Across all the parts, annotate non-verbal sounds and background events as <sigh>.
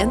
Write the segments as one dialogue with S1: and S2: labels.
S1: En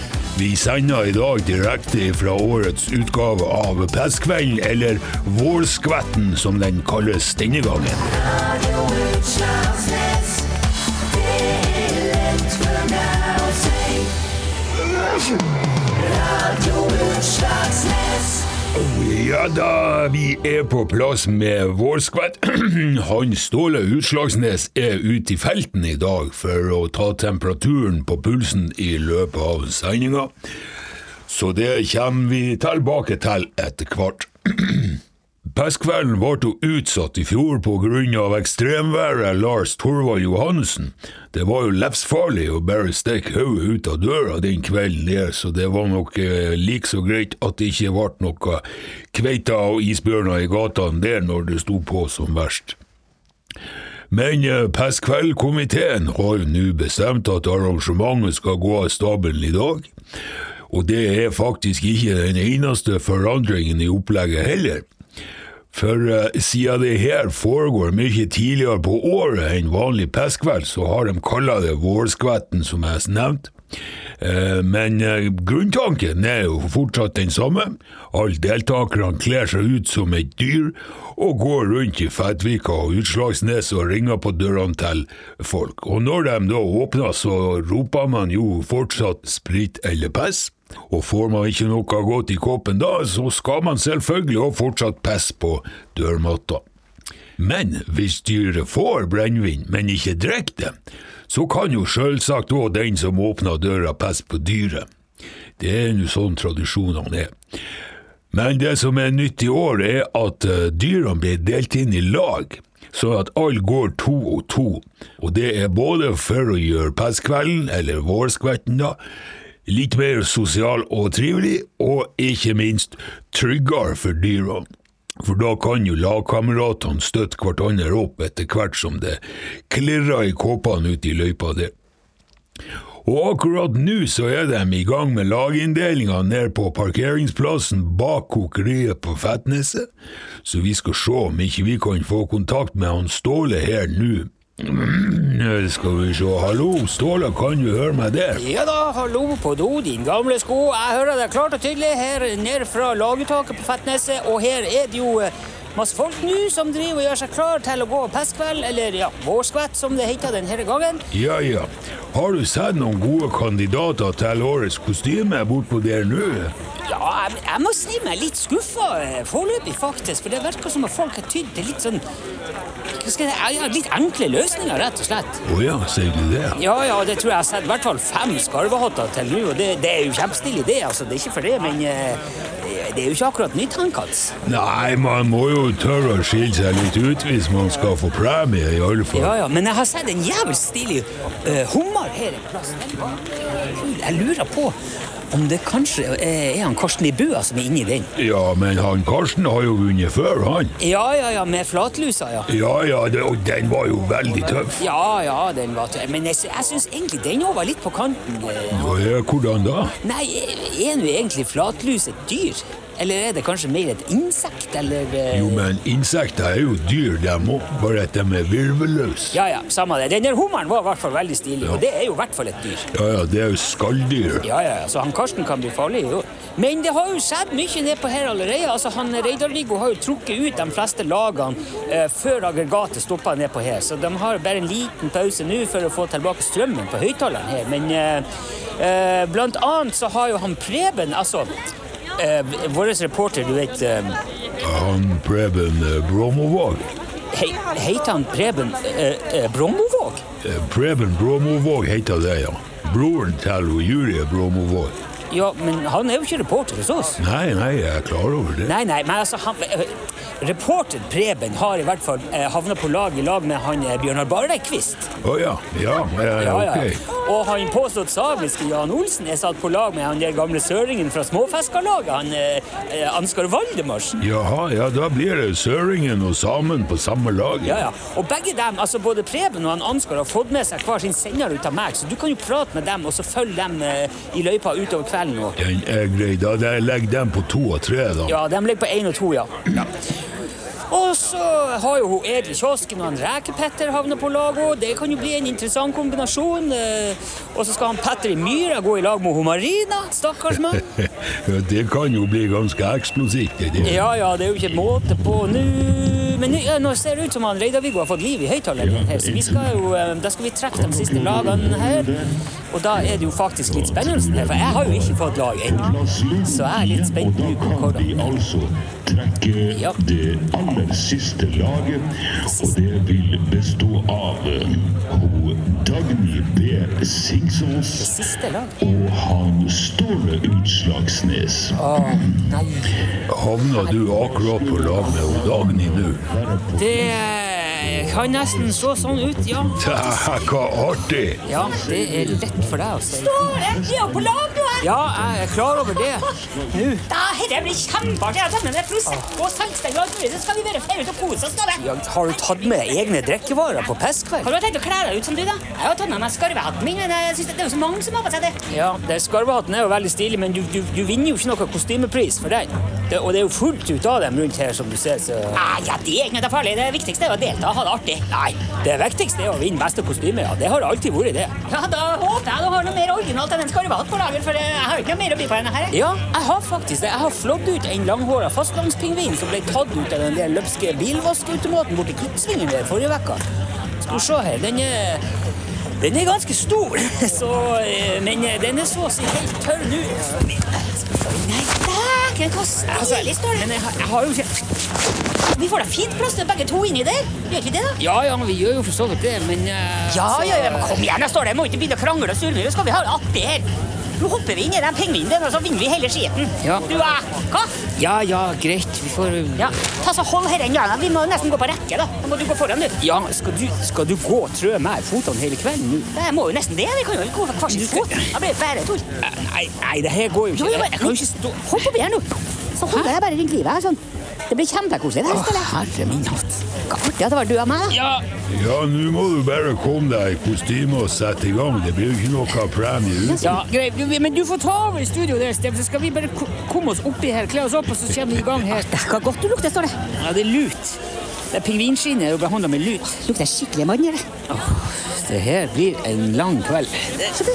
S2: Vi sender i dag direkte fra årets utgave av Pestkvelden, eller Vårskvetten som den kalles denne gangen. Ja da, vi er på plass med vårskvett. <clears throat> Han Ståle Utslagsnes er ute i felten i dag for å ta temperaturen på pulsen i løpet av sendinga. Så det kommer vi tilbake til etter hvert. Pestkvelden ble jo utsatt i fjor pga. ekstremværet Lars Torvald Johannessen. Det var jo livsfarlig å bare stikke hodet ut av døra den kvelden der, så det var nok eh, like så greit at det ikke ble noe kveita og isbjørner i gatene der når det sto på som verst. Men eh, Pestkveldkomiteen har jo nå bestemt at arrangementet skal gå av stabelen i dag. Og det er faktisk ikke den eneste forandringen i opplegget heller. For eh, siden det her foregår mye tidligere på året enn vanlig pestkveld, så har de kalla det vårskvetten, som jeg nevnte. Eh, men eh, grunntanken er jo fortsatt den samme. Alle deltakerne kler seg ut som et dyr og går rundt i Fettvika og Utslagsnes og ringer på dørene til folk. Og når de da åpner, så roper man jo fortsatt sprit eller piss. Og får man ikke noe godt i koppen da, så skal man selvfølgelig også fortsatt pisse på dørmatta. Men hvis dyret får brennevin, men ikke drikker det, så kan jo selvsagt òg den som åpner døra, pisse på dyret. Det er nå sånn tradisjonene er. Men det som er nytt i år, er at eh, dyrene blir delt inn i lag, sånn at alle går to og to. Og det er både for å gjøre pestkvelden, eller vårskvetten, da, litt mer sosial og trivelig, og ikke minst tryggere for dyrene. For da kan jo lagkameratene støtte hverandre opp etter hvert som det klirrer i kåpene ute i løypa der. Og akkurat nå så er de i gang med laginndelinga ned på parkeringsplassen bak kokeriet på Fettneset, så vi skal se om ikke vi kan få kontakt med han Ståle her nå. Mm, Skal vi se, hallo, Ståle, kan du høre meg der?
S3: Ja da, hallo på do, din gamle sko. Jeg hører deg klart og tydelig her ned fra laguttaket på Fettneset, og her er det jo eh, masse folk nå som driver og gjør seg klar til å gå pestkveld, eller ja, vårskvett som det heter denne gangen.
S2: Ja, ja. Har du sett noen gode kandidater til årets kostyme bortpå der nå?
S3: Ja, jeg, jeg må si meg litt skuffa eh, foreløpig, faktisk, for det virker som at folk har tydd til litt sånn hva skal jeg, si, ja, litt enkle løsninger, rett og slett.
S2: Å ja, sier du det?
S3: Ja, ja, det tror jeg jeg har sett i hvert fall fem skarvehatter til nå, og det, det er jo kjempestilig, det. altså, Det er ikke for det, men eh, det det er jo ikke akkurat nytenkende.
S2: Nei, man må jo tørre å skille seg litt ut hvis man skal få premie, i alle fall.
S3: Ja, ja, men jeg har sett en jævlig stilig eh, hummer her en plass. Den var kul. Jeg lurer på om det kanskje eh, er han Karsten i bua som er inni den.
S2: Ja, men han Karsten har jo vunnet før, han.
S3: Ja, ja, ja, med flatlusa, ja.
S2: Ja, ja, det, og den var jo veldig tøff.
S3: Ja, ja, den var tø- Men jeg, sy- jeg syns egentlig den òg var litt på kanten. eh.
S2: Og ja, hvordan da?
S3: Nei, eh, er nå egentlig flatlus et dyr? Eller er det kanskje mer et insekt, eller eh,
S2: Jo, men insekter er jo dyr, dem òg, bare at de er virvelløse.
S3: Ja, ja, samme det. Den der hummeren var i hvert fall veldig stilig, og det er jo i hvert fall et dyr.
S2: Ja, ja, det er jo skalldyr.
S3: Ja, ja, ja, så han Karsten kan bli farlig, jo. Men det har jo skjedd mye nedpå her allerede. Altså, han Reidar-Viggo har jo trukket ut de fleste lagene eh, før aggregatet stoppa nedpå her, så de har bare en liten pause nå for å få tilbake strømmen på høyttaleren her. Men eh, eh, blant annet så har jo han Preben, altså eh, vår reporter, du vet eh,
S2: Han Preben eh, Bromovåg.
S3: he, Heter han Preben eh, eh, Bromovåg?
S2: Eh, Preben Bromovåg heter det, ja. Broren til Julie Bromovåg.
S3: Ja, men han er jo ikke reporter hos oss.
S2: Nei, nei, jeg er klar over det.
S3: Nei, nei, men altså han, eh, Reporter Preben har i hvert fall eh, havna på lag i lag med han eh, Bjørnar Barrekvist.
S2: Å ja. Ja, eh,
S3: Ja, ja.
S2: ok.
S3: Og han påstått samiske Jan Olsen er satt på lag med han der gamle søringen fra Småfiskarlaget, han eh, eh, Ansgar Valdemarsen.
S2: Jaha, ja, da blir det søringen og samen på samme lag.
S3: Ja, ja. Og begge dem, altså både Preben og han Ansgar, har fått med seg hver sin sender ut av meg, så du kan jo prate med dem og så følge dem eh, i løypa utover kvelden. Og.
S2: Den er grei. Da da legger den på to og tre, da.
S3: Ja, de ligger på én og to, ja. Og så har jo hun Edel Kiosken og han Reke-Petter havnet på lag òg. Det kan jo bli en interessant kombinasjon. eh, Og så skal han Petter i Myra gå i lag med hun Marina. Stakkars mann.
S2: <laughs> Ja, Det kan jo bli ganske eksplosivt. det der.
S3: Ja ja, det er jo ikke måte på nå. Men nå- ja, nå ser det ut som han Reidar-Viggo har fått liv i høyttaleren her, så vi skal jo, eh, da skal vi trekke de siste lagene her. Og da er det jo faktisk litt spennelse her, for jeg har jo ikke fått lag ennå. Så jeg er litt spent nå på
S4: Og da
S3: hvordan
S4: kan de altså trekke
S3: Ja.
S4: det aller siste laget, og det vil bestå av eh, ho- Dagny B. Singsås
S3: Siste lag?
S4: og han Ståle Utslagsnes.
S3: Å, nei.
S2: Havna du akkurat på lag med hun Dagny nå?
S3: Det eh, kan nesten se sånn ut, ja.
S2: Tja, Hva artig!
S3: Ja, det er lett for deg å si.
S5: Står endelig opp på lag, du her!
S3: Ja, jeg er klar over det. Nå.
S5: Da, herre blir kjempeartig. Jeg tar med meg Prosecco og saltstenger og alt mulig, så skal vi bare feire ut og kose oss. da, vel.
S3: Ja, har du tatt med deg egne drikkevarer på
S5: Har
S3: pestkveld?
S5: du tenkt å kle deg ut som du, da? Jeg har tatt med meg skarvehatten min, men jeg synes det- det er jo så mange som har på seg det.
S3: Ja, det Skarvehatten er jo veldig stilig, men du, du, du vinner jo ikke noen kostymepris for den. Det, og det er jo fullt ut av dem rundt her, som du ser, så
S5: Ah, ja, det er ikke noe farlig. Det viktigste er jo å delta og ha det artig. Nei.
S3: Det viktigste er å vinne beste kostyme, ja. Det har alltid vært det.
S5: Ja, da håper jeg du har noe mer originalt enn en skarvehatt på lager, for eh, jeg har jo ikke noe mer å by på enn det her. jeg.
S3: Ja, jeg har faktisk det. Jeg har flådd ut en langhåra fastlandspingvin som ble tatt ut av den der løpske bilvaskautomaten borti Kvitsvingen der forrige uke. Skal vi se her. Den er, den er ganske stor, <laughs> så, eh, men eh, den er så å si helt tørr nå.
S5: eh, Nei, dæken, hva
S3: Altså,
S5: stilig står det.
S3: men jeg, har- jeg har jo ikke
S5: Vi får da fint plass til begge to inni der. Gjør vi det, da?
S3: Ja ja, vi gjør jo for så vidt det, men eh,
S5: Ja,
S3: altså,
S5: ja, ja, men kom igjen, da står det. Jeg må ikke begynne å krangle og surre. Skal vi ha det artig her? Nå hopper vi inn i den pingvinen din, og så vinner vi hele skiten.
S3: Ja.
S5: Du, eh, hva?
S3: Ja ja, greit. Vi får eh,
S5: Ja, ta så hold herren, ja. Vi må nesten gå på rekke, da. Da må du gå foran, du.
S3: Ja, skal du, skal du gå og trø meg i føttene hele kvelden nå?
S5: Jeg må jo nesten det. Vi kan jo ikke gå for hver sin
S3: Du skal-
S5: fot.
S3: Eh,
S5: Da blir det bare tull.
S3: Nei, nei, det her går jo
S5: Jo,
S3: ikke.
S5: jo, men-
S3: Jeg kan jo ikke stå
S5: Hopp oppi her nå. Så holder jeg bare rundt livet her, sånn. Det blir kjempekoselig. det her,
S3: Å,
S5: Stella.
S3: herre min hatt.
S5: Hva artig at det var du og meg, da.
S3: Ja,
S2: Ja, nå må du bare komme deg i kostyme og sette i gang. Det blir jo ikke noe premie ut.
S3: Ja, greit. Du- Men du får ta over i studio der, Steff, så skal vi bare ko- komme oss oppi her, kle oss opp, og så kommer vi i gang her.
S5: Hva godt du lukter, står det.
S3: Ja, det er lut. Det pingvinskinnet er jo behandla med lut.
S5: Lukter skikkelig mann, gjør det.
S3: Det her blir en lang kveld.
S5: Så du,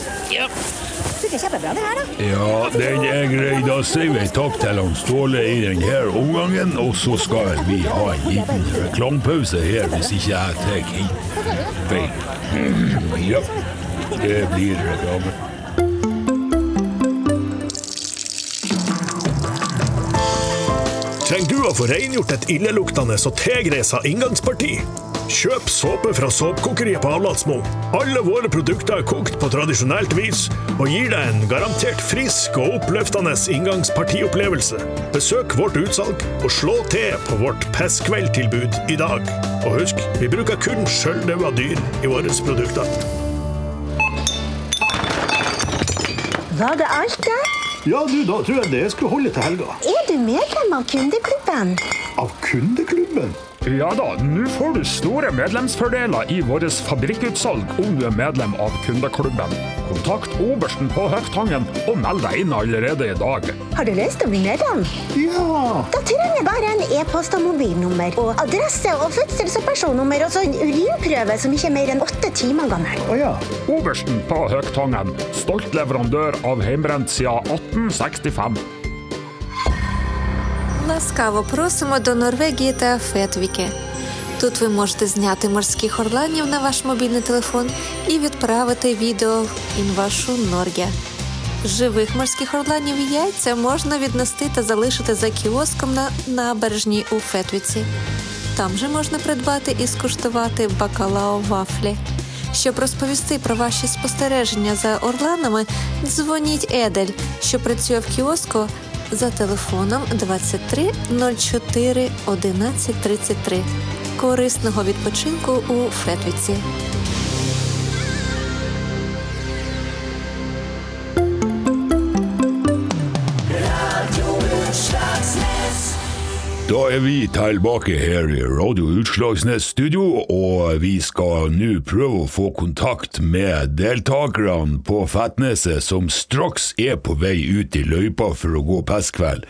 S5: lukter kjempebra, det her, da.
S2: Ja, den er grei. Da sier vi takk til han Ståle i denne omgangen, og så skal vi ha en liten reklamepause her, hvis ikke jeg tar helt feil. Ja, det blir reklame.
S6: Trenger du å få rengjort et illeluktende og tegresa inngangsparti? Kjøp såpe fra såpekokeriet på Avlatsmo. Alle våre produkter er kokt på tradisjonelt vis og gir deg en garantert frisk og oppløftende inngangspartiopplevelse. Besøk vårt utsalg og slå til på vårt pestkveldtilbud i dag. Og husk, vi bruker kun sjøldaua dyr i våre produkter.
S7: Var det alt, da?
S6: Ja, du, da tror jeg det skulle holde til helga.
S7: Er du medlem av kundeklubben?
S6: Av kundeklubben?
S8: Ja da, nå får du store medlemsfordeler i vårt fabrikkutsalg om du er medlem av kundeklubben. Kontakt obersten på Høgtangen og meld deg inn allerede i dag.
S7: Har du lyst til å bli medlem?
S6: Ja!
S7: Da trenger jeg bare en e-post og mobilnummer og adresse og fødsels- og personnummer og så en urinprøve som ikke er mer enn åtte timer gammel.
S6: Å ja.
S8: Obersten på Høgtangen, stolt leverandør av heimbrent siden 1865.
S9: Ласкаво просимо до Норвегії та Фетвіки. Тут ви можете зняти морських орланів на ваш мобільний телефон і відправити відео в інвашу Норге. Живих морських орланів і яйця можна віднести та залишити за кіоском на набережній у Фетвіці. Там же можна придбати і скуштувати бакалао вафлі. Щоб розповісти про ваші спостереження за орланами, дзвоніть Едель, що працює в кіоску за телефоном 23 04 11 33. Корисного відпочинку у Фетвіці.
S2: Da er vi tilbake her i Radio Utslagsnes studio, og vi skal nå prøve å få kontakt med deltakerne på Fettneset, som straks er på vei ut i løypa for å gå pestkveld.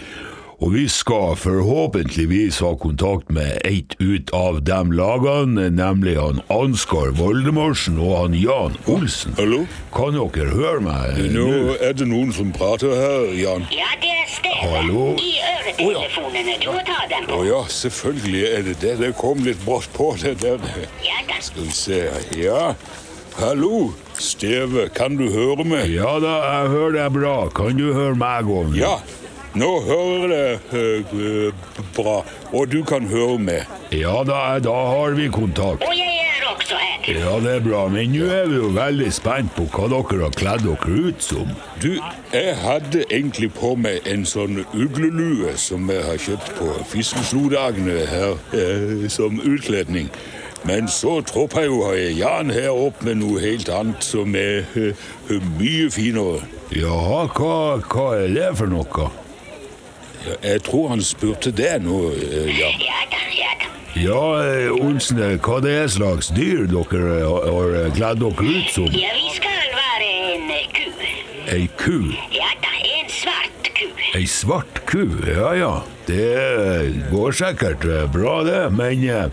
S2: Og vi skal forhåpentligvis ha kontakt med ett ut av de lagene, nemlig han Ansgar Voldemorsen og han Jan Olsen.
S6: Hallo?
S2: Kan dere høre meg?
S6: Nå er det noen som prater her, Jan.
S7: Ja, det er Steve.
S2: Hallo?
S7: I øretelefonene. Du må ta dem
S6: Å
S7: på.
S6: ja, selvfølgelig er det det. Det kom litt brått på, det der.
S7: Ja da.
S6: Skal vi se her. Ja. Hallo, Steve. Kan du høre meg?
S2: Ja da, jeg hører deg bra. Kan du høre meg òg?
S6: Ja. Nå hører jeg deg eh, bra, og du kan høre meg.
S2: Ja da, da har vi kontakt.
S7: Og jeg er også her.
S2: Ja, det er bra, men nå er vi jo veldig spent på hva dere har kledd dere ut som.
S6: Du, jeg hadde egentlig på meg en sånn uglelue som jeg har kjøpt på Fiskeslo-dagene her eh, som utkledning. Men så troppa jo Jan her opp med noe helt annet som er eh, mye finere.
S2: Jaha, hva, hva er det for noe?
S6: Ja, Jeg tror han spurte deg nå, eh, Jan.
S7: Ja da, ja da.
S2: Ja, eh, Olsen, eh, hva det er slags dyr dere har- har eh, kledd dere ut som?
S7: Ja, vi skal være en eh, ku.
S2: Ei ku?
S7: Ja da, en svart ku.
S2: Ei svart ku? Ja ja, det eh, går sikkert eh, bra, det, men eh,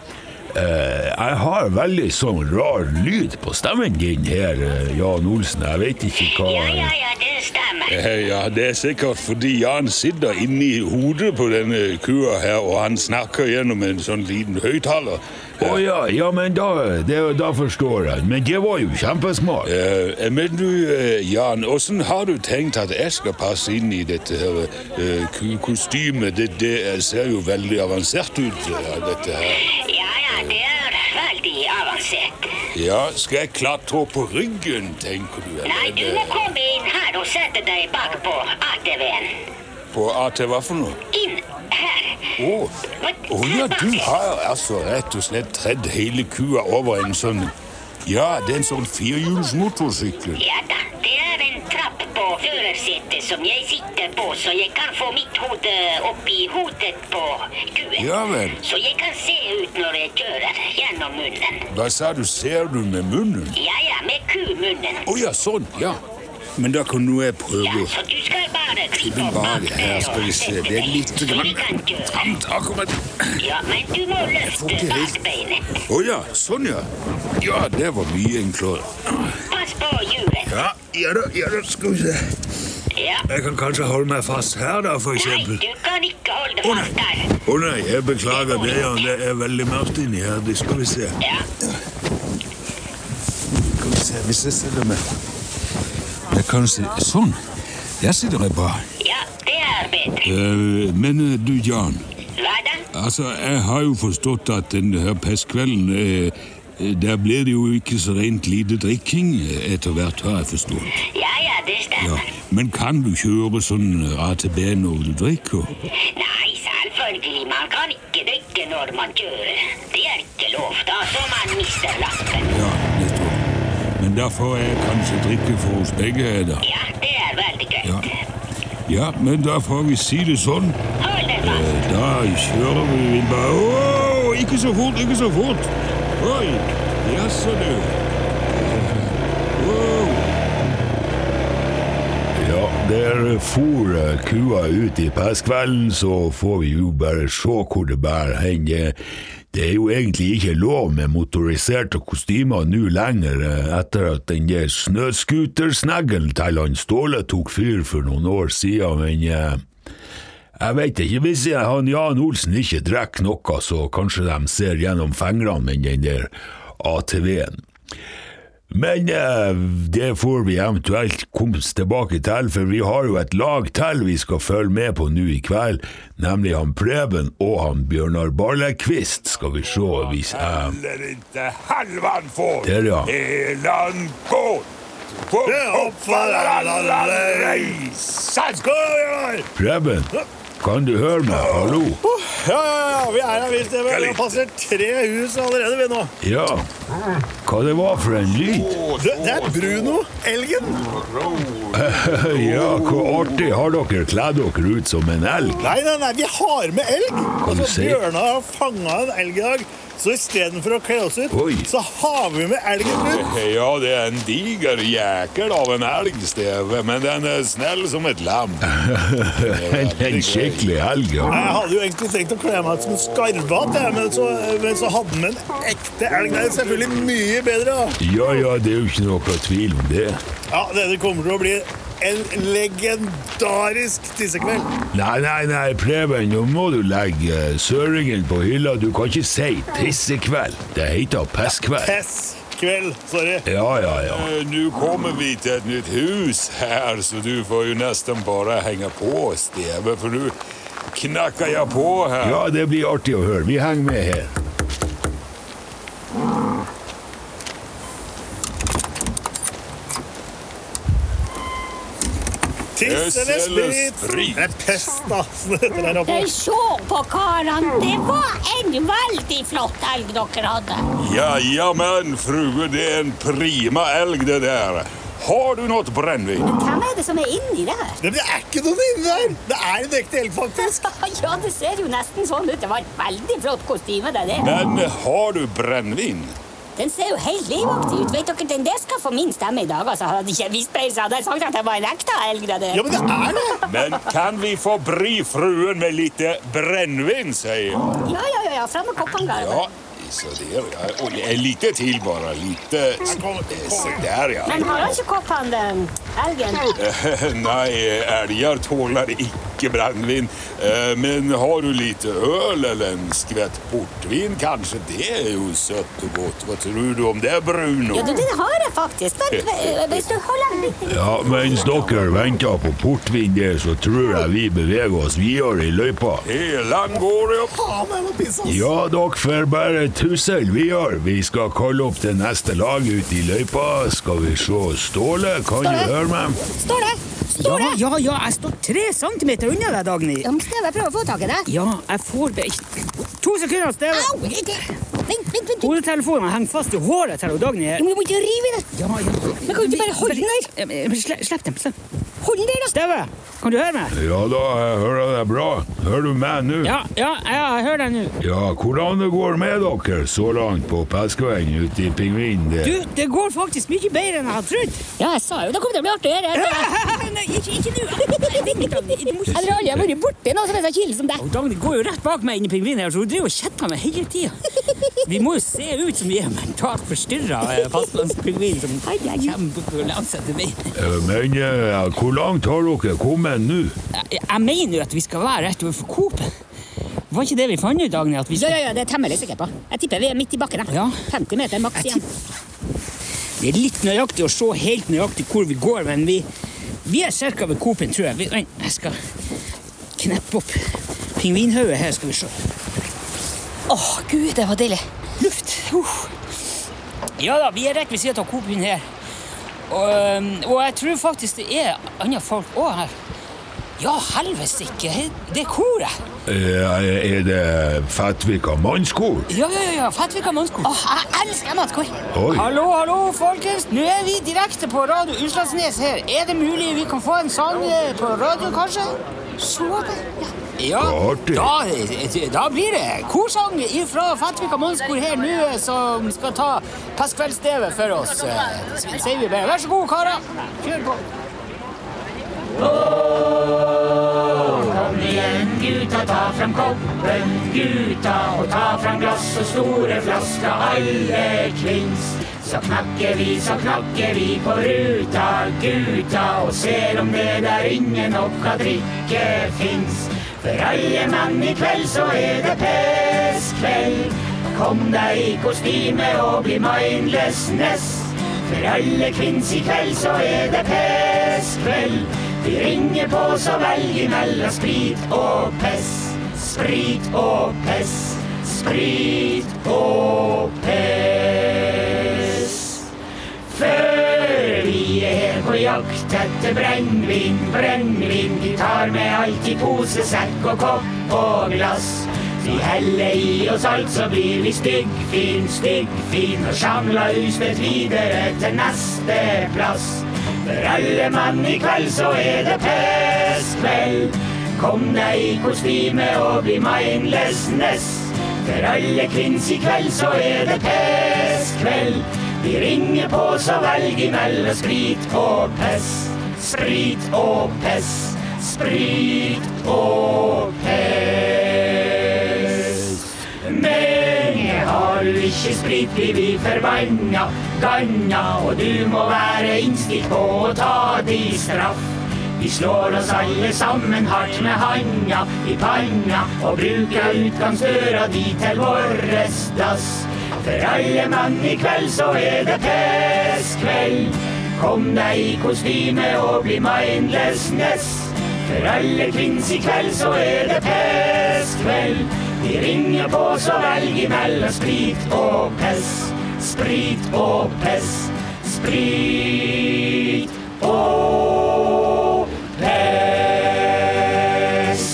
S2: eh, jeg har veldig sånn rar lyd på stemmen din her, eh, Jan Olsen. Jeg vet ikke hva
S7: Ja, ja, ja, det stemmer.
S6: Eh, Ja, det er sikkert fordi Jan sitter inni hodet på denne kua her, og han snakker gjennom en sånn liten høyttaler.
S2: Å ja, ja, men da, det, da forstår jeg. Men det var jo kjempesmart.
S6: Eh, men du, eh, Jan, hvordan har du tenkt at jeg skal passe inn i dette her eh, ku- kostymet? Det, det ser jo veldig avansert ut, eh, dette her.
S7: Ja ja, det er veldig avansert.
S6: Ja, skal jeg klatre opp på ryggen, tenker du?
S7: Nei, du må komme inn her og sette deg bak på ATV-en.
S6: På AT hva for noe?
S7: Inn her.
S6: Å Å ja, du har altså rett og slett tredd hele kua over en sånn Ja, det er en sånn firehjulsmotorsykkel.
S7: Ja da, det er en trapp på førersetet som jeg sitter på, så jeg kan få mitt hode oppi hodet på kuen.
S6: Ja vel.
S7: Så jeg kan se ut når jeg kjører gjennom munnen.
S6: Hva sa du, ser du med munnen?
S7: Ja ja, med kumunnen.
S6: Å ja, sånn, ja. Men da kan nå jeg
S7: Ja,
S6: prøve.
S7: så du skal bare
S6: Ikke
S7: krype opp
S6: bare
S7: bak
S6: her,
S7: der
S6: skal
S7: og
S6: vi se.
S7: sette
S6: Det er
S7: deg,
S6: litt
S7: så vi
S6: grann
S7: kan kjøre.
S6: tamt akkurat.
S7: Ja, men du må løfte
S6: ikke helt-
S7: bakbeinet.
S6: Å ja, sånn ja. Ja, det var mye enklere.
S7: Pass på hjulet.
S6: Ja, ja da, ja da, skal vi se.
S7: Ja.
S6: Jeg kan kanskje holde meg fast her da, for
S7: Nei, du kan ikke holde fast der.
S6: Å nei, jeg beklager det, Jan. Det er veldig mørkt inni her. Det skal vi se.
S7: Ja.
S6: Skal vi se, hvis jeg setter meg Jeg kan se, sånn. Der sitter jeg bra.
S7: ja, det er bedre.
S6: Eh, men eh, du, Jan.
S7: Hva da?
S6: Altså, jeg har jo forstått at denne her pestkvelden eh, eh, Der blir det jo ikke så rent lite drikking eh, etter hvert, har jeg forstått.
S7: Ja ja, det
S6: Ja.
S7: stemmer.
S6: Men kan du kjøre sånn ATB når du drikker?
S7: Nei, selvfølgelig. Man kan ikke drikke når man kjører. Det er ikke lov, da, så man mister lappen.
S6: Ja, nettopp. Men da får jeg kanskje drikke for oss begge, da.
S7: Ja, det er veldig greit.
S6: Ja, men da får vi si det sånn.
S7: Hold deg
S6: Eh,
S7: fast.
S6: Da kjører vi vi bare Åh, ikke så fort, ikke så fort! Oi, jaså du. Åh.
S2: Ja, der for eh, kua ut i pestkvelden, så får vi jo bare se hvor det bærer hen. Det- Det er jo egentlig ikke lov med motoriserte kostymer nå lenger, eh, etter at den der snøskutersneggelen til han Ståle tok fyr for noen år siden, men eh, jeg vet ikke, hvis jeg, han Jan Olsen ikke drikker noe, så kanskje de ser gjennom fingrene med den der ATV-en. Men eh, det får vi eventuelt komme tilbake til, for vi har jo et lag til vi skal følge med på nå i kveld, nemlig han Preben og han Bjørnar Barlekvist, skal vi se hvis jeg
S6: Helvete, halvan får
S2: Der, ja.
S6: elan gå. For oppfaller alle reisen. Skål!
S2: Preben, kan du høre meg? Hallo? Ja, ja, ja, vi er her visst. Vi har passert tre hus allerede, vi nå.
S6: Ja. Hva det var for en lyd?
S2: Det, det er Bruno, elgen.
S6: ja, hvor artig har dere kledd dere ut som en elg?
S2: Nei, nei, nei, vi har med elg.
S6: Kan du
S2: Altså,
S6: si?
S2: Bjørnar har fanga en elg i dag. Så istedenfor å kle oss ut,
S10: Oi.
S2: så har vi med elgen ut.
S10: Eh, Ja, det er en diger jækel av en elg, Steve, men den er snill som et lam.
S6: en, en skikkelig elg, ja.
S2: Nei, Jeg hadde jo egentlig tenkt å kle meg ut som en skarvat, jeg, men, så, men så hadde den en ekte elg. Det er selvfølgelig mye bedre. da.
S6: Ja, ja, det er jo ikke noe tvil om det.
S2: Ja, Dette kommer til å bli en legendarisk tissekveld.
S6: Nei, nei, nei, Preben, nå må du legge eh, søringen på hylla. Du kan ikke si tissekveld. Det heter pesskveld.
S2: Tesskveld, sorry.
S6: Ja, ja, ja.
S10: Eh, Nå kommer vi til et nytt hus her, så du får jo nesten bare henge på, Steve, for nå knakker jeg på her.
S6: Ja, det blir artig å høre. Vi henger med her.
S2: Tiss eller
S7: Pess eller
S2: sprit? Det er pest, da. <laughs> som det heter der oppe.
S7: Jeg så på karene. Det var en veldig flott elg dere hadde.
S10: Ja, ja, men frue, det er en prima elg, det der. Har du noe brennevin?
S7: Hvem er det som er inni der?
S2: Det er ikke noen inni der! Det er en ekte elg, faktisk.
S7: <laughs> ja, det ser jo nesten sånn ut. Det var et veldig flott kostyme. det der.
S10: Men har du brennevin?
S7: Den ser jo helt livaktig ut. Vet dere, Den der skal få min stemme i dag. altså. Hadde ikke jeg visst bedre, så hadde jeg sagt at det var en ekte elg. det der.
S2: Ja, men det er det!
S10: Men kan vi forbry fruen med litt brennevin, sier jeg.
S7: Ja, ja, ja, ja. Fram med koppene, Garve.
S10: Ja, så der, ja. Og lite til, bare. Lite Se der, ja. <laughs>
S7: Men har han ikke koppene, den elgen?
S10: Eh, Nei, elger tåler ikke brennevin. Eh, Men har du lite øl eller en skvett portvin, kanskje? Det er jo søtt og godt. Hva tror du om det, Bruno?
S7: Ja, du, den har jeg faktisk. Vent, v- hvis du holder den litt
S6: Ja, Mens dere venter på portvin der, så tror jeg vi beveger oss videre i løypa.
S10: Elan går opp.
S2: Faen, jeg må pisse, ass.
S6: Ja, dere får bare tussel videre. Vi skal kalle opp det neste lag ute i løypa. Skal vi se Ståle, kan du høre meg?
S3: Står det? Står det? Ja, ja, ja, jeg står tre centimeter unna deg, Dagny.
S7: Ja, men Steve, jeg prøver å få tak i deg.
S3: Ja, jeg får be... To sekunder, Steve.
S7: Au! Ikke. Vent, vent, vent.
S3: Hodetelefonen henger fast i håret til Dagny.
S7: Du må ikke rive i den.
S3: Ja, ja.
S7: Men kan du ikke bare holde den der?
S3: Eh, men sle- Slipp den. slipp den.
S7: Hold den der, da.
S3: Steve, kan du høre meg?
S6: Ja da, jeg hører deg bra. Hører du meg nå?
S3: Ja, ja, ja, jeg hører deg nå.
S6: Ja, hvordan det går med dere så langt på Peskeveien ute i Pingvinen der?
S3: Du, det går faktisk mye bedre enn jeg hadde trodd.
S7: Ja, jeg sa jo det kommer til å bli artig. her.
S3: <laughs> Nei, ikke, ikke
S7: <laughs>
S3: nå. Nei, vent, Dagny. Du må
S7: Jeg har
S3: ikke...
S7: aldri vært borti noe som er så kjedelig som deg.
S3: Og Dagny går jo rett bak meg inn i pingvinen her, så hun driver og kjetter meg hele tida. Vi må jo se ut som vi er mentalt forstyrra fastlandspingvin som kommer på langs etter meg.
S6: Eh, Men eh, hvor langt har dere kommet nå?
S3: Jeg, jeg mener jo at vi skal være rett overfor Coop. Var ikke det vi fant ut, Dagny? At vi
S7: Ja,
S3: skal...
S7: ja, ja, det er jeg temmelig sikker på. Jeg tipper vi er midt i bakken. jeg.
S3: Ja.
S7: 50 meter maks igjen.
S3: Det er litt nøyaktig å se helt nøyaktig hvor vi går, men vi, vi er cirka ved Coop-en, tror jeg. Vi, vent, jeg skal kneppe opp pingvinhauet her, skal vi se.
S7: Å, gud, det var deilig.
S3: Luft! Uff. Ja da, vi er rett ved siden av Coop-en her. Og, øhm, og jeg tror faktisk det er andre folk òg her. Ja, helvete ikke! he- Det er koret!
S6: Eh, Er det Fettvika mannskor?
S3: Ja, ja, ja, Fettvika mannskor.
S7: Åh, jeg elsker matkor.
S6: Oi.
S3: Hallo, hallo, folkens. Nå er vi direkte på Radio Utslagsnes her. Er det mulig vi kan få en sang eh, på radio, kanskje?
S7: Se der. Ja.
S3: Ja,
S6: Artig.
S3: da, eh, da blir det korsang fra Fettvika mannskor her nå, eh, som skal ta Pestkveldsstevet for oss. eh, Sier vi bare. Vær så god, karer. Kjør på.
S11: Gutta, ta fram koppen, gutta, og ta fram glass og store flasker, alle klins. Så knakker vi, så knakker vi på ruta, gutta, og ser om det der ingen oppga drikke fins. For alle mann i kveld så er det pestkveld. Kom deg i kostyme og bli mindlessness. For alle kvinns i kveld så er det pestkveld. Vi ringer på så velg imellom sprit og pess. Sprit og pess. Sprit og pess. Før vi er her på jakt etter brennevin, brennevin. Vi tar med alt i pose, sekk og kopp og glass.
S12: Vi heller i oss alt, så blir vi styggfin, styggfin og sjamla ustedt videre til neste plass. For alle mann i kveld så er det pestkveld. Kom deg i kostyme og bli mindlessness. For alle kvinns i kveld så er det pestkveld. Vi ringer på så velg imellom sprit og pess. Sprit og pess. Sprit og pess. Men jeg har jo ikke sprit, blir vi forbanna, ganna, og du må være innstilt på å ta de straff. Vi slår oss alle sammen hardt med handa i panna og bruker utgangsdøra di til våres dass. For alle mann i kveld så er det pestkveld. Kom deg i kostyme og bli mindlessness. For alle kvinns i kveld så er det pestkveld. De ringer på så velg imellom sprit og pess. Sprit og pess. Sprit og pess.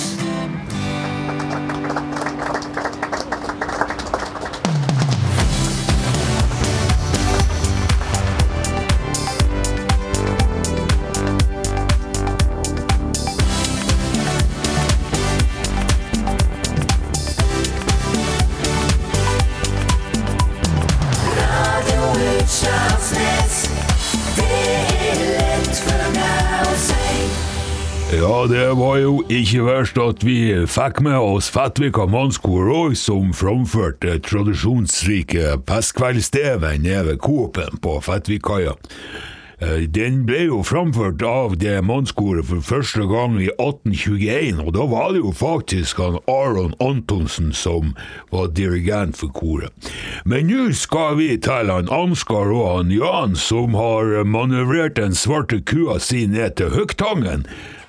S2: Ja, det var jo ikke verst at vi fikk med oss Fettvik og Mannskor òg, som framførte det tradisjonsrike Pestkveldssteven nede ved Coop-en på Fettvikkaia. Eh, Den ble jo framført av det mannskoret for første gang i 1821, og da var det jo faktisk han Aron Antonsen som var dirigent for koret. Men nå skal vi til han Ansgar og han Jan, som har manøvrert den svarte kua si ned til Høgtangen.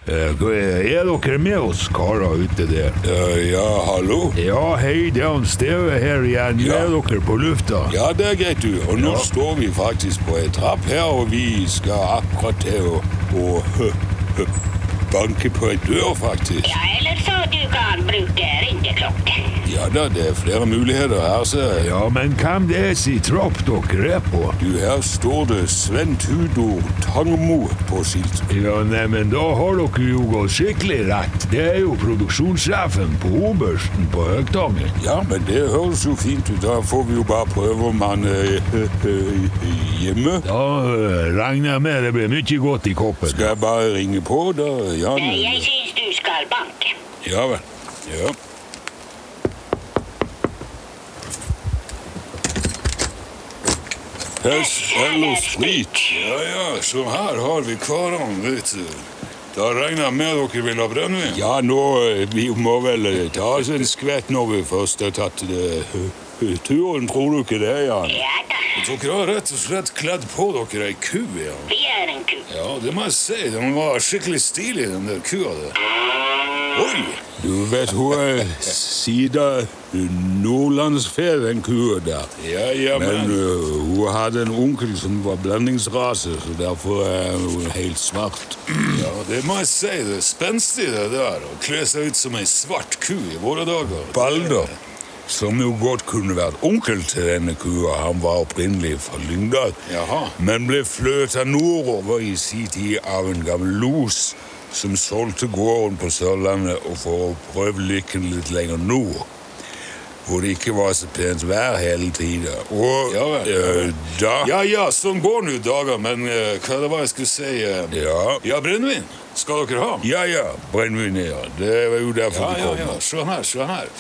S2: Eh, Er dere med oss karer ute der?
S6: Eh, ja, hallo?
S2: Ja, hei, det er han Steve her igjen. Nå er dere på lufta.
S6: Ja, det er greit, du. Og nå
S2: Ja.
S6: står vi faktisk på en trapp her, og vi skal akkurat til å, å hø, hø, banke på en dør, faktisk.
S7: Ja, eller så du kan bruke ringeklokke.
S6: Ja da, det er flere muligheter her, ser jeg.
S2: Ja, men hvem det er sin trapp dere er på?
S6: Du, her står det Sven Tudor Tangmo på skiltet.
S2: Ja, nei, men da har dere jo gått skikkelig rett. Det er jo produksjonssjefen på Obersten på Høgtangen.
S6: Ja, men det høres jo fint ut. Da får vi jo bare prøve om han eh, <laughs> er hjemme.
S2: Da eh, regner jeg med det blir mye godt i koppen.
S6: Skal jeg bare ringe på, da? Jan?
S7: Nei, jeg syns du skal banke.
S6: Ja vel. Ja. Pels eller sprit? Ja, ja, så her har vi hverandre, vet du. Da regner jeg med dere vil ha brennevin? Ja, nå, eh, vi må vel eh, ta oss en skvett når vi først har tatt det. <laughs> turen, tror du ikke det, Jan?
S7: Ja da,
S6: Dere har rett og slett kledd på dere ei ku, Jan.
S7: vi er en ku.
S6: Ja, det må jeg si. Den var skikkelig stilig, den der kua der. Oi! Du vet hun er Sida Nordlandsfer, den kua der. Ja, ja, men øh, hun hadde en onkel som var blandingsrase, så derfor er hun helt svart. Ja, det må jeg si. Det er spenstig, det der. Å kle seg ut som ei svart ku i våre dager. Balder. Som jo godt kunne vært onkel til denne kua. Han var opprinnelig fra Lyngdal, men ble fløta nordover i sin tid av en gammel los som solgte gården på Sørlandet og for å prøve lykken litt lenger nord. Hvor det ikke var så pent vær hele tida. Og ja, da Ja ja, sånn går det jo dager, men eh, hva det var jeg skulle si Ja, ja brennevin skal dere ha. Ja ja, brennevin, ja. Det var jo
S13: Ja,
S6: derfor du
S13: ja,
S6: kom.
S13: ja.
S6: Se her, se her.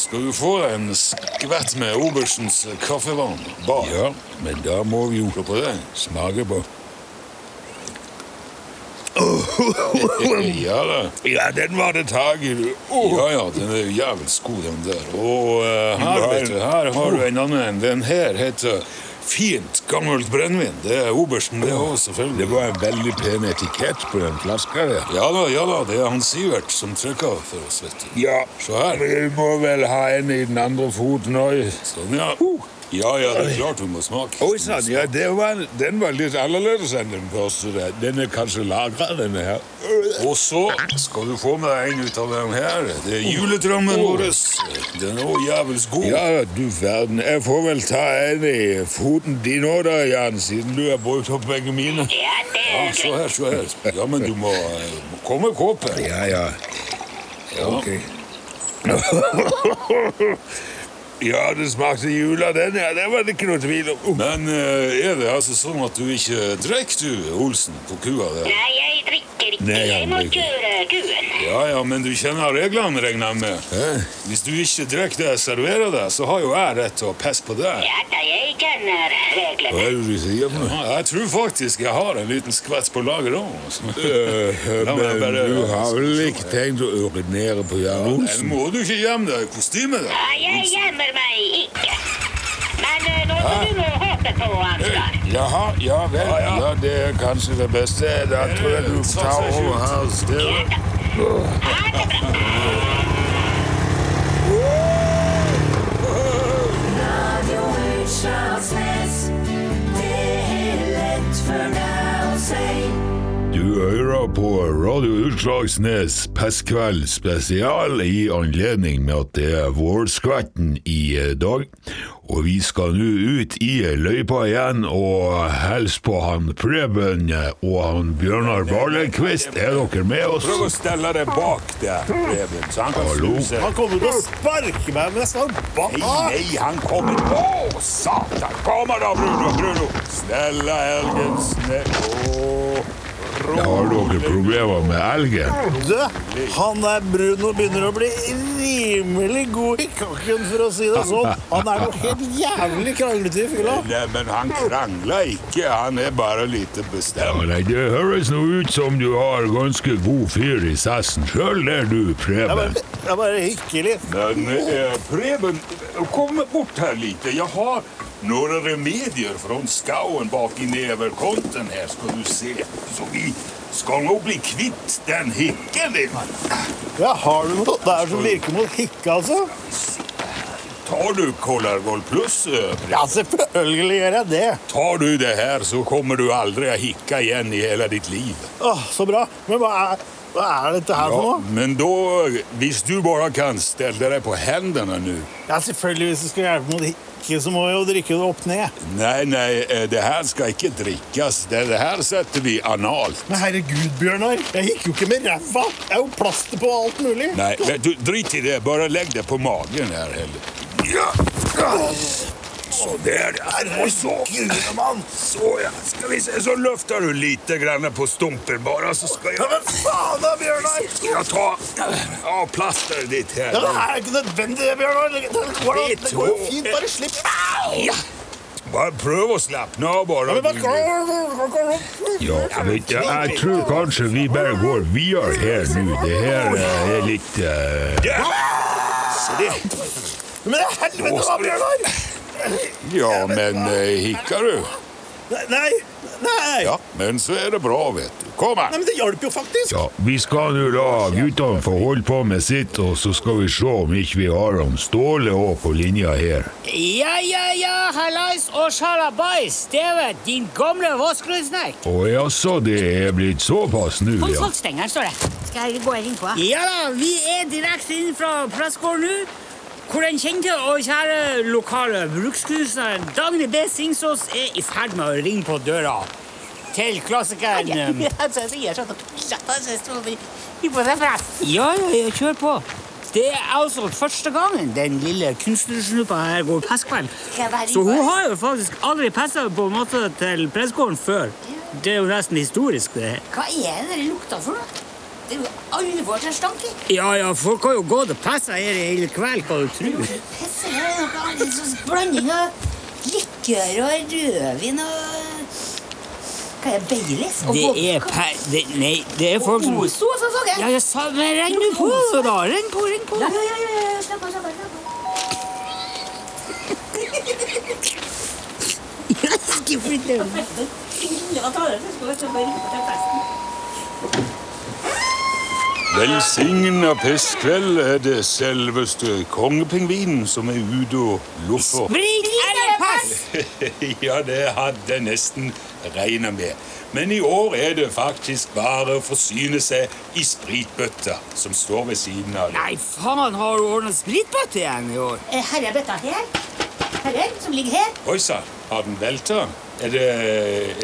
S6: Skal du få deg en skvett med Oberstens eh, kaffevann? Bar. Ja, men da må vi jo på det. Smake på. <laughs> ja da. Ja, den var det tak i. Oh. du. Ja ja, den er jo jævlig god, den der. Og eh, her, vet du, her har Oh. du en annen. Den her heter Fint gammelt brennevin. Det er Obersten, det òg, selvfølgelig. Det var en veldig pen etikett på den flaska. Ja da, ja da. Det er han Sivert som trykker for oss, vet du. Ja. Se her. Vi må vel ha en i den andre foten òg. Sånn, ja. Ja, ja, det er klart vi må smake.
S13: Oi sann, ja, det var, den var litt annerledes enn den første. der. Den er kanskje lagra, denne her.
S6: Og så skal du få med deg en ut av den her. Det er juledrømmen
S2: Åh.
S6: vår. Den er også jævels god.
S2: Ja,
S6: du verden. Jeg får vel ta en i foten din òg, da, Jan, siden du har brukt opp begge mine. Ja, så her, så her. Ja, men du må eh, må komme med kåpen.
S2: Ja, ja.
S6: Ja. Ja, det smakte jul av den, ja. Det var det ikke noe tvil om. Men eh, er det altså sånn at du ikke drikker, du, Olsen, på kua der?
S7: Nei, jeg drikker ikke.
S6: Nei,
S7: Jeg
S6: han
S7: må
S6: drikker.
S7: kjøre kuen.
S6: Ja, ja, men du kjenner reglene, regner jeg med. Hvis du ikke drikker det jeg serverer deg, så har jo jeg rett til å pisse på deg.
S7: Ja da, jeg kjenner reglene.
S6: Hva er det du sier for noe? Ja, jeg tror faktisk jeg har en liten skvett på lager altså. òg. eh,
S2: Men du har vel ikke tenkt å urinere på Jan Olsen?
S6: Må du ikke gjemme deg i kostymet?
S7: Ja, jeg gjemmer meg ikke. Men eh, nå må
S6: Hæ?
S7: du nå hoppe på, Ansgar.
S6: Jaha, ja vel. Ja, det er kanskje det beste. Da tror jeg du får ta over her stedet.
S12: Radio Utslagsnes. Det er lett for deg å si.
S2: Du hører på Radio Utslagsnes Pestkveld spesial i anledning med at det er vårskvetten i eh, dag. Og vi skal nå ut i løypa igjen og hilse på han Preben og han Bjørnar Barlekvist. Er dere med oss?
S6: Prøv å stelle deg bak der, Preben. Så han kan
S2: Hallo?
S6: snu seg.
S14: Han kommer til å sparke meg mens han
S6: Nei, nei, han kommer. Å, satan! Kommer da, Bruno! Bruno! Snella elgen, snella
S2: Har dere problemer med elgen?
S14: Du, han der Bruno begynner å bli rimelig god i kakken, for å si det sånn. Han er noe helt jævlig kranglete i fylla.
S6: Nei, men han krangler ikke. Han er bare lite bestemt.
S2: Nei, det høres nå ut som du har ganske god fyr i sessen sjøl, der du, Preben.
S14: Det er bare hyggelig.
S6: Men eh, Preben, kom bort her litt. Jeg har noen remedier fra skauen bak i neverkonten her, skal du se. Så vi skal nå bli kvitt den hikken din.
S14: Ja, har du noe der som virker mot hikke, altså?
S6: Tar du Collargold pluss? eh, Preben?
S14: Ja, selvfølgelig gjør jeg det.
S6: Tar du det her, så kommer du aldri å hikke igjen i hele ditt liv.
S14: Åh, så bra. Men hva er, hva er dette her for
S6: Ja,
S14: noe?
S6: men da, hvis du bare kan stelle deg på hendene nå
S14: Ja, selvfølgelig, hvis det skal hjelpe mot hikke, så må jeg jo drikke det opp ned.
S6: Nei, nei, eh, det her skal ikke drikkes. Det, det her setter vi analt.
S14: Men herregud, Bjørnar, jeg gikk jo ikke med ræva. Jeg er jo plaster på alt mulig.
S6: Nei, vet du, drit i det. Bare legg deg på magen her, heller. Ja. Så der, ja. Og så, så, ja. Skal vi se, så løfter du lite grann på stumpen bare, så skal jeg
S14: Men faen da, Bjørnar!
S6: Skal jeg ta av plasteret ditt her?
S14: Ja, det er ikke nødvendig, det, Bjørnar. Det, det, går,
S6: Det
S14: det går jo
S6: tror-
S14: fint. Bare slipp. Au!
S6: Ja. Bare prøv å slappe av,
S14: Ja,
S6: bare.
S14: men bare-
S2: Ja, vet du, jeg tror kanskje vi bare går videre her nå. Det her eh, er litt eh,
S6: Ja. Se det.
S14: Men helvete, da, Bjørnar!
S6: Ja, men eh, hikker du?
S14: Nei, Nei, nei.
S6: Ja, men så er det bra, vet du. Kom
S14: Nei,
S6: her.
S14: men det hjalp jo faktisk.
S2: Ja, vi skal nå la guttene få holde på med sitt, og så skal vi se om ikke vi har han Ståle òg på linja her.
S3: Ja, ja, ja, hallais og sjalabais, Steven, din gamle våskrudsnekk.
S2: Å jaså, det er blitt såpass nå,
S3: Kom,
S2: ja.
S3: Saltstengeren, står det.
S15: Skal jeg gå inn på?
S3: Ja da, vi er direkte inn fra pressgården nå, hvor den kjente og kjære lokale brukskunstneren Dagny B. Singsås er i ferd med å ringe på døra til
S15: <laughs>
S3: klassikeren. eh,
S15: sånn
S3: Ja, ja, ja, kjør på. Det er altså første gangen den lille kunstnersnuppa her går pestkveld. Så hun har jo faktisk aldri pessa på en måte til pressgården før. Det er jo nesten historisk, det her.
S15: Hva er det det lukter for noe? Det er jo alvor til stank i.
S3: Ja, ja, folk har jo gått og pessa her i hele kveld, hva du tror.
S15: Pisse, det er noe annet, en sånn blanding av likør og rødvin og Hva er det, Baileys? Og
S3: Det
S15: vodka?
S3: er pe... Det, nei, det er folk som
S15: Ozo, så så jeg.
S3: Ja, jeg sa men Regn nå på, da. Regn på, regn på.
S15: Ja, ja, ja, ja, ja, slapp av, slapp av, slapp av.
S3: Ikke flytt deg unna.
S15: Ingen av talerne skal være så veldig på til festen.
S6: Velsigna pestkveld er det selveste kongepingvinen som er ute og loffer.
S3: Spring, eller
S16: pass!
S17: <laughs> ja, det hadde jeg nesten regna med. Men i år er det faktisk bare å forsyne seg i spritbøtta som står ved siden av.
S3: Nei, faen, har du ordna spritbøtte igjen i år?
S16: Eh, Her er bøtta her. Her er den som ligger her.
S17: Oi sann, har den velta? Er det,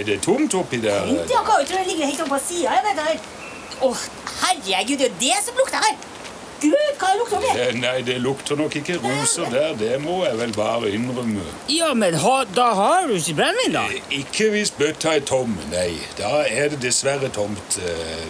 S17: er det tomt oppi der?
S16: Fint, ja, Kåre, tror jeg ligger helt oppe på sida av bøtta her. Å, herregud, det er jo det som lukter her. Gud, hva lukter det?
S17: Eh, Nei, det lukter nok ikke roser der. Det må jeg vel bare innrømme.
S3: Ja, men ha, da har du ikke brennevin, da.
S17: Ikke hvis bøtta er tom, nei. Da er det dessverre tomt. eh,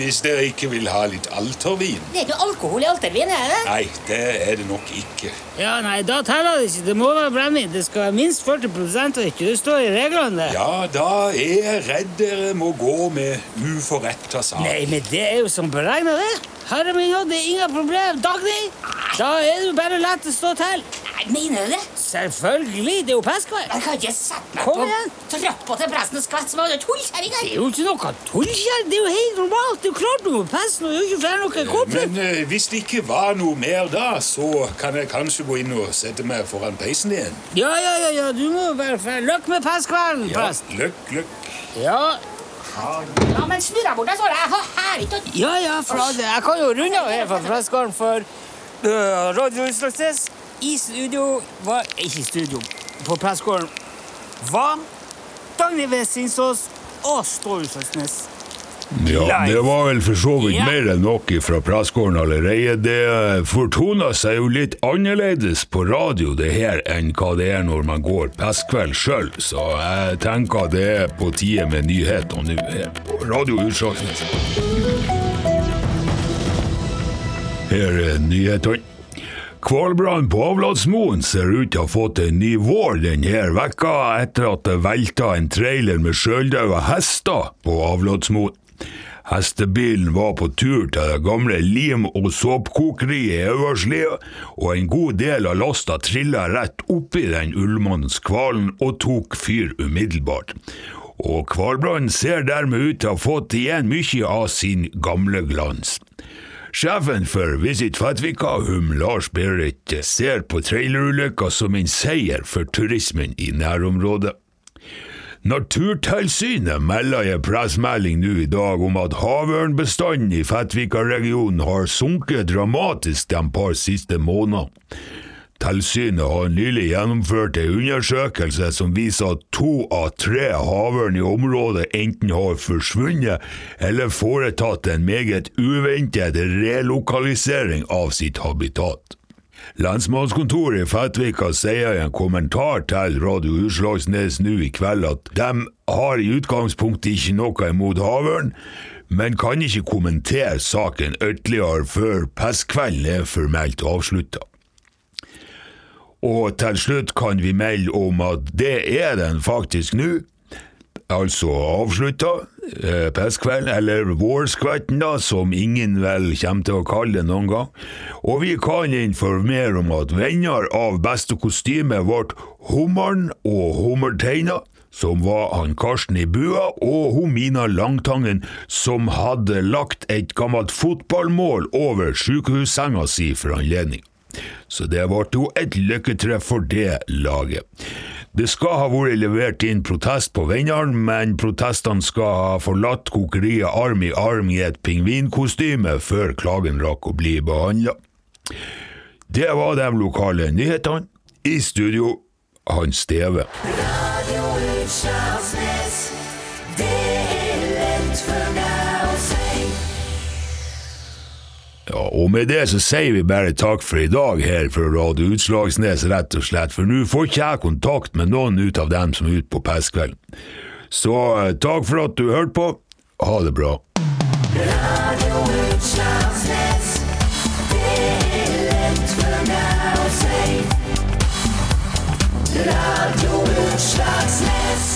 S17: Hvis dere ikke vil ha litt altervin.
S16: Det er ikke noe alkohol i altervin, er det?
S17: Nei, det er det nok ikke.
S3: Ja, nei, da teller det ikke. Det må være brennevin. Det skal være minst 40 og ikke det står i reglene. det.
S17: Ja, da er jeg redd dere må gå med uforretta sak.
S3: Nei, men det er jo som beregna, det. Herre min, ja, det er ingen problem. Dagny, da er det jo bare lett å stå til.
S16: Mener du det?
S3: Selvfølgelig. Det er jo pestkveld.
S16: Jeg kan ikke sette meg
S3: Kom
S16: på
S3: igjen.
S16: trappa til presten og skvette som en tullkjerring
S3: Det
S16: her.
S3: er jo ikke noe tull, kjære. Det er jo helt normalt. Det er jo klart du må pesse nå. Det er jo ikke flere noe
S17: Men eh, hvis det ikke var noe mer da, så kan jeg kanskje gå inn og sette meg foran peisen igjen.
S3: Ja, ja, ja, ja. du må bare få Løkk med pestkvelden,
S17: Ja,
S3: prest.
S17: løkk, løkk.
S3: Ja.
S16: Ja, men snurra bort deg, så jeg har her ikke å-
S3: ja, ja, for all del. Jeg kan jo runde av her fra prestgården for øh, Radio Utslagsnes. I studio var Ikke i studio. På prestgården var Dagny Vessingsås og Ståle Utslagsnes.
S6: Ja, det var vel for så vidt mer enn nok fra Prasgården allerede. Det eh, fortona seg jo litt annerledes på radio det her enn hva det er når man går pestkveld sjøl, så jeg tenker det er på tide med nyheter nå her på Radio Utslagsnes. Her er nyhetene. Kvalbrannen på Avlatsmoen ser ut til å ha fått en ny vår denne vekka etter at det velta en trailer med sjøldaude hester på Avlatsmoen. Hestebilen var på tur til det gamle lim- og såpkokeriet i Øverslia, og en god del av lasta trilla rett oppi den ulmende hvalen og tok fyr umiddelbart. Og hvalbrannen ser dermed ut til å ha fått igjen mye av sin gamle glans. Sjefen for Visit Fatvika, hum Lars Berit, ser på trailerulykka som en seier for turismen i nærområdet. Naturtilsynet melder i en pressemelding nå i dag om at havørnbestanden i Fettvika-regionen har sunket dramatisk de par siste månedene. Tilsynet har nylig gjennomført en undersøkelse som viser at to av tre havørn i området enten har forsvunnet eller foretatt en meget uventet relokalisering av sitt habitat. Lensmannskontoret i Fettvika sier i en kommentar til Radio Utslagsnes nå i kveld at de har i utgangspunktet ikke noe imot havørn, men kan ikke kommentere saken ytterligere før pestkvelden er formelt avslutta. Og til slutt kan vi melde om at det er den faktisk nå. Altså avslutta. eh, Pestkvelden, eller vårskvetten, da, som ingen vel kommer til å kalle det noen gang. Og vi kan informere om at vinner av beste kostyme ble Hummeren og Hummerteina, som var han Karsten i bua, og hun Mina Langtangen, som hadde lagt et gammelt fotballmål over sykehussenga si for anledning. Så det ble jo et lykketreff for det laget. Det skal ha vært levert inn protest på Vennaren, men protestene skal ha forlatt kokeriet arm i arm i et pingvinkostyme før klagen rakk å bli behandla. Det var de lokale nyhetene. I studio, Hans Steve.
S12: Radio Utslagsnes. Det er lett for deg å si.
S6: Ja, og med det så sier vi bare takk for i dag her fra Radio Utslagsnes, rett og slett, for nå får ikke jeg kontakt med noen ut av dem som er ute på pestkvelden. Så eh, takk for at du hørte på. Ha det bra.
S12: Radio Utslagsnes. Det er lett for deg å si. Radio Utslagsnes.